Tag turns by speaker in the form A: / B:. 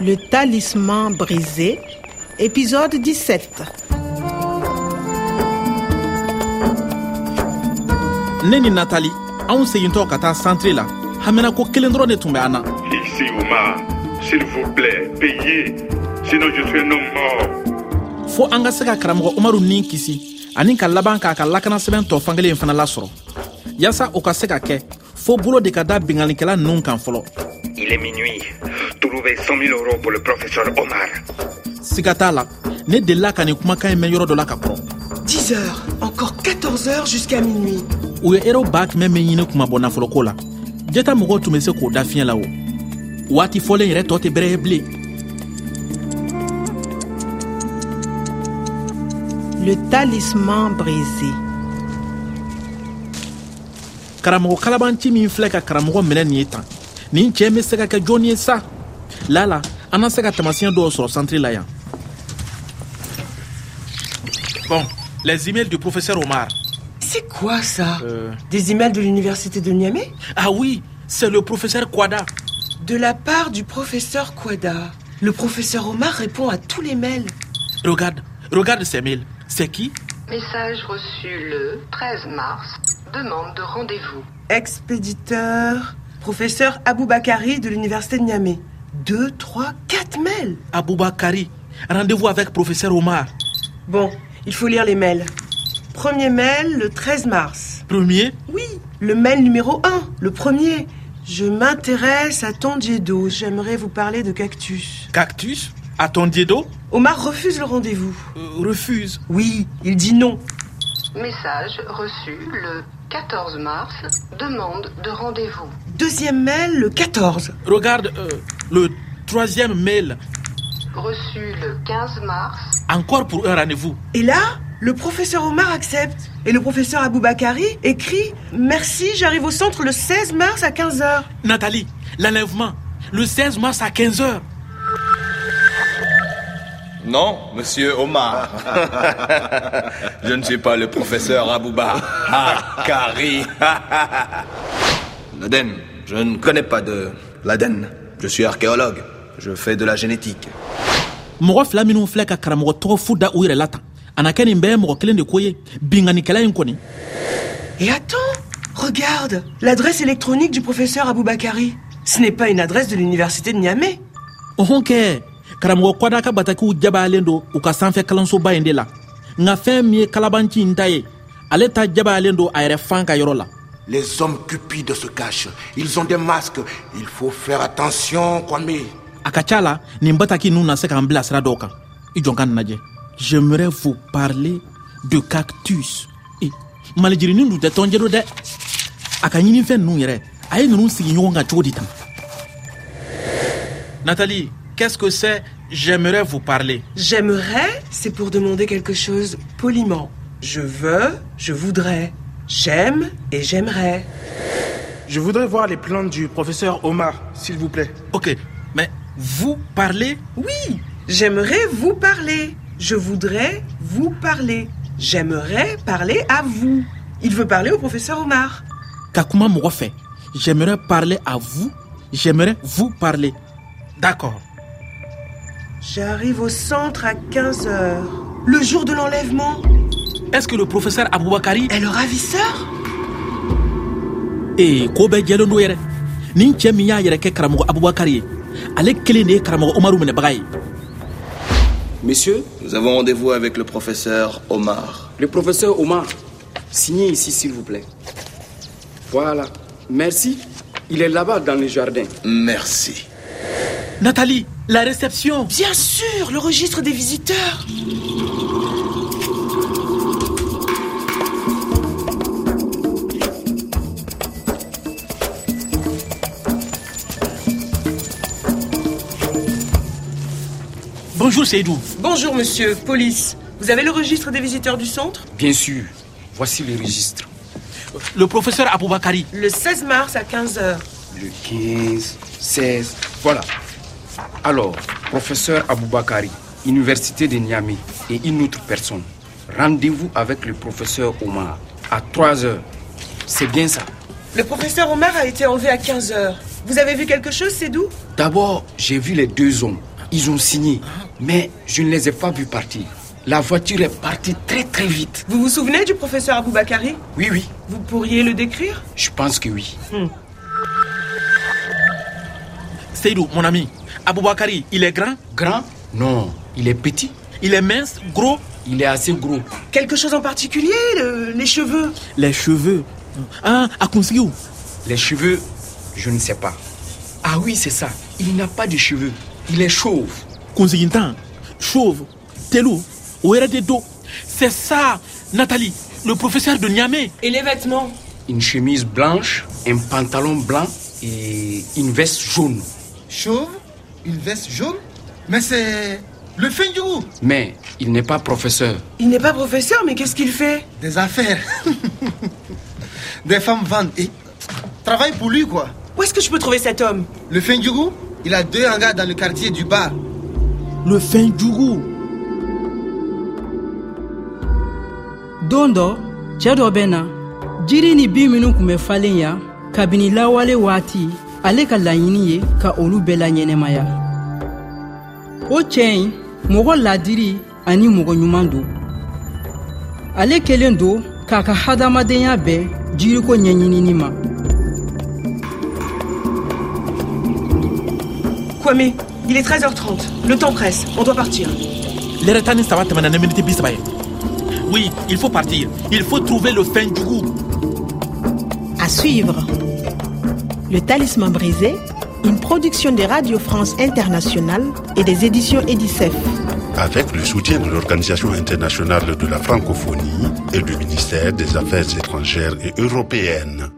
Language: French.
A: Le talisman brisé, épisode 17.
B: ne ni natali anw segintɔ ka taa santiri la haminako kelen dɔrɔn de tun bɛ an na
C: Ici Omar, s'il vous plaît, payez, sinon je suis un homme mort.
B: fo an ka se ka karamɔgɔ umaru ni kisi ani ka laban k'a ka lakanasɛbɛn tɔ fankelen in fana lasɔrɔ yaasa o ka se ka kɛ fo bolo de ka da bingalikɛla ninnu kan fɔlɔ
D: Il est minuit. Trouver 100 000 euros pour le professeur Omar.
B: siga t'a la ne delila ka nin kumakan ɲi mɛn yɔrɔ dɔ la ka kɔrɔ
E: 10 heures, encore 14 heures jusqu'à minuit.
B: u ye erew b'a kɛmɛ min ɲini kuma bɔ nafoloko la jɛta mɔgɔw tun be se k'o da fiɲɛ la o waati fɔlen yɛrɛ tɔ tɛ bɛrɛ ye bilen
A: Le talisman brisé.
B: karamɔgɔ kalabanci min filɛ ka karamɔgɔ minɛ nin ye tan nin cɛɛ be se ka kɛ jɔnni ye sa lala an na se ka tamasiyɛn dɔw sɔrɔ santiri la yan bon les emails du professeur omar
E: C'est quoi ça Des emails de l'université de Niamey
B: ah oui c'est le professeur quada
E: De la part du professeur Kwada. Le professeur Omar répond à tous les mails.
B: regarde regarde ces mails c'est qui
F: Message reçu le 13 mars. Demande de rendez-vous.
E: Expéditeur, professeur Aboubakari de l'université de Niamey. 2, 3, 4 mails.
B: aboubakari rendez-vous avec professeur omar
E: Bon, il faut lire les mails. Premier mail le 13 mars.
B: premier
E: Oui, le mail numéro 1, le premier. Je m'intéresse à Tandiedo, j'aimerais vous parler de cactus.
B: cactus attendiedo
E: Omar refuse le rendez-vous.
B: euh, refuse
E: Oui, il dit non.
F: Message reçu le 14 mars. Demande de rendez-vous.
E: Deuxième mail le 14.
B: regarde euh, le troisième mail
F: Reçu le 15 mars.
B: encore pour un rendez-vous
E: Et là, le professeur Omar accepte. Et le professeur Aboubakari écrit Merci, j'arrive au centre le 16 mars à 15h.
B: Nathalie, l'enlèvement, le 16 mars à 15h.
G: Non, monsieur Omar. Je ne suis pas le professeur Abouba. Akari. L'Aden. Je ne connais pas de l'Aden. Je suis archéologue. Je fais de la génétique.
B: mɔgɔ fila minw filɛ ka karamɔgɔ tɔgɔ fu da u yɛrɛ la tan a na kɛ nin bɛɛ ye mɔgɔ kelen de ko ye binganikɛla in kɔni
E: Et attends, regarde l'adresse électronique du professeur Aboubakari. Ce n'est pas une adresse de l'université de Niamey.
B: ɔhɔn kɛ karamɔgɔ kwada ka batakiw jabayalen don u ka sanfɛ kalansoba yen de la nka fɛn min ye kalabanci n ta ye ale ta jabayalen don a yɛrɛ fan ka yɔrɔ la
H: Les hommes cupides se cachent. Ils ont des masques. Il faut faire attention, Kwame.
B: a ka ca la nin bataki n'u na se k'an bila sira dɔw kan i jɔn ka nin lajɛ j'aimerais vous parler de cactus Eh, malijirinin dun tɛ tɔnjɛ do dɛ a ka ɲinifɛn ninnu yɛrɛ a ye ninnu sigi ɲɔgɔn kan cogo di tan nathalie qu'est ce que c'est j'aimerais vous parler
E: J'aimerais, c'est pour demander quelque chose poliment. Je veux, je voudrais. J'aime et j'aimerais.
I: Je voudrais voir les plans du professeur Omar, s'il vous plaît.
B: ok mais vous parlez
E: Oui, j'aimerais vous parler. Je voudrais vous parler. J'aimerais parler à vous. Il veut parler au professeur Omar.
B: ka kuma mɔgɔ fɛ j'aimerais parler à vous j'aimerais vous parler d'accord
E: J'arrive au centre à 15h. Le jour de l'enlèvement.
B: est ce que le professeur aboubakari
E: Et le ravisseur
B: ee koo bɛɛ jɛlen do yɛrɛ nin cɛɛ min y'a yɛrɛ kɛ karamɔgɔ abubakari ye ale kelen de ye karamɔgɔ umaru minɛbaga ye
J: Messieurs,
G: Nous avons rendez-vous avec le professeur Omar.
J: le professeur Omar, signez ici s'il vous plaît. Voilà. Merci. Il est là-bas dans le jardin.
G: Merci.
B: nathalie la réception
E: Bien sûr, le registre des visiteurs.
B: bonjour seydou
E: Bonjour monsieur, police. Vous avez le registre des visiteurs du centre
J: Bien sûr. Voici le registre.
B: le professeur aboubakari
E: Le 16 mars à 15h.
J: Le 15, 16. Voilà. Alors, professeur Aboubakari, Université de Niamey et une autre personne. Rendez-vous avec le professeur Omar à 3 heures. C'est bien ça.
E: Le professeur Omar a été enlevé à 15h. Vous avez vu quelque chose, Sédou
J: D'abord, j'ai vu les deux hommes. Ils ont signé, mais je ne les ai pas vus partir. La voiture est partie très très vite.
E: Vous vous souvenez du professeur Aboubakari
J: Oui, oui,
E: Vous pourriez le décrire
J: je pense que oui.
B: Seydou, mon ami, Aboubakari, il est grand,
J: Grand Non, il est petit.
B: il est mince, gros.
J: Il est assez gros.
E: Quelque chose en particulier le- Les cheveux
B: Les cheveux. Ah, a conseguiu.
J: Les cheveux, je ne sais pas. Ah oui, c'est ça. Il n'a pas de cheveux. Il est chauve.
B: Conseguiu então. Chauve, Telou, Ouera de dos. C'est ça, Nathalie, le professeur de Niamey.
E: Et les vêtements
J: Une chemise blanche, un pantalon blanc et une veste jaune.
K: Chauve, une veste jaune, mais c'est le fin du goût
J: Mais il n'est pas professeur.
E: Il n'est pas professeur, mais qu'est-ce qu'il fait
K: des affaires. des femmes vendent et travaillent pour lui, quoi.
E: Où est-ce que je peux trouver cet homme
K: Le fin du goût, il a deux hangars dans le quartier du bar.
B: Le fin du goût.
L: don dɔ cɛɛ dɔ bɛ na jiri ni bin minw kun bɛ falen ya kabini lawale waati ale ka laɲini ye ka olu bɛɛ laɲɛnɛmaya o cɛɛ ɲi mɔgɔ ladiri ani mɔgɔ ɲuman don ale kelen don k'a ka hadamadenya bɛɛ jiriko ɲɛɲinini ma
E: Kwame, il est 13h30. Le temps presse, on doit partir.
B: Les rétanis, ça va te mener à minute bis, ça va y être. Oui, il faut partir. Il faut trouver le fin du goût.
A: À suivre. Le talisman brisé, une production de Radio France Internationale et des éditions Edicef.
M: avec le soutien de l'Organisation internationale de la francophonie et du ministère des Affaires étrangères et européennes.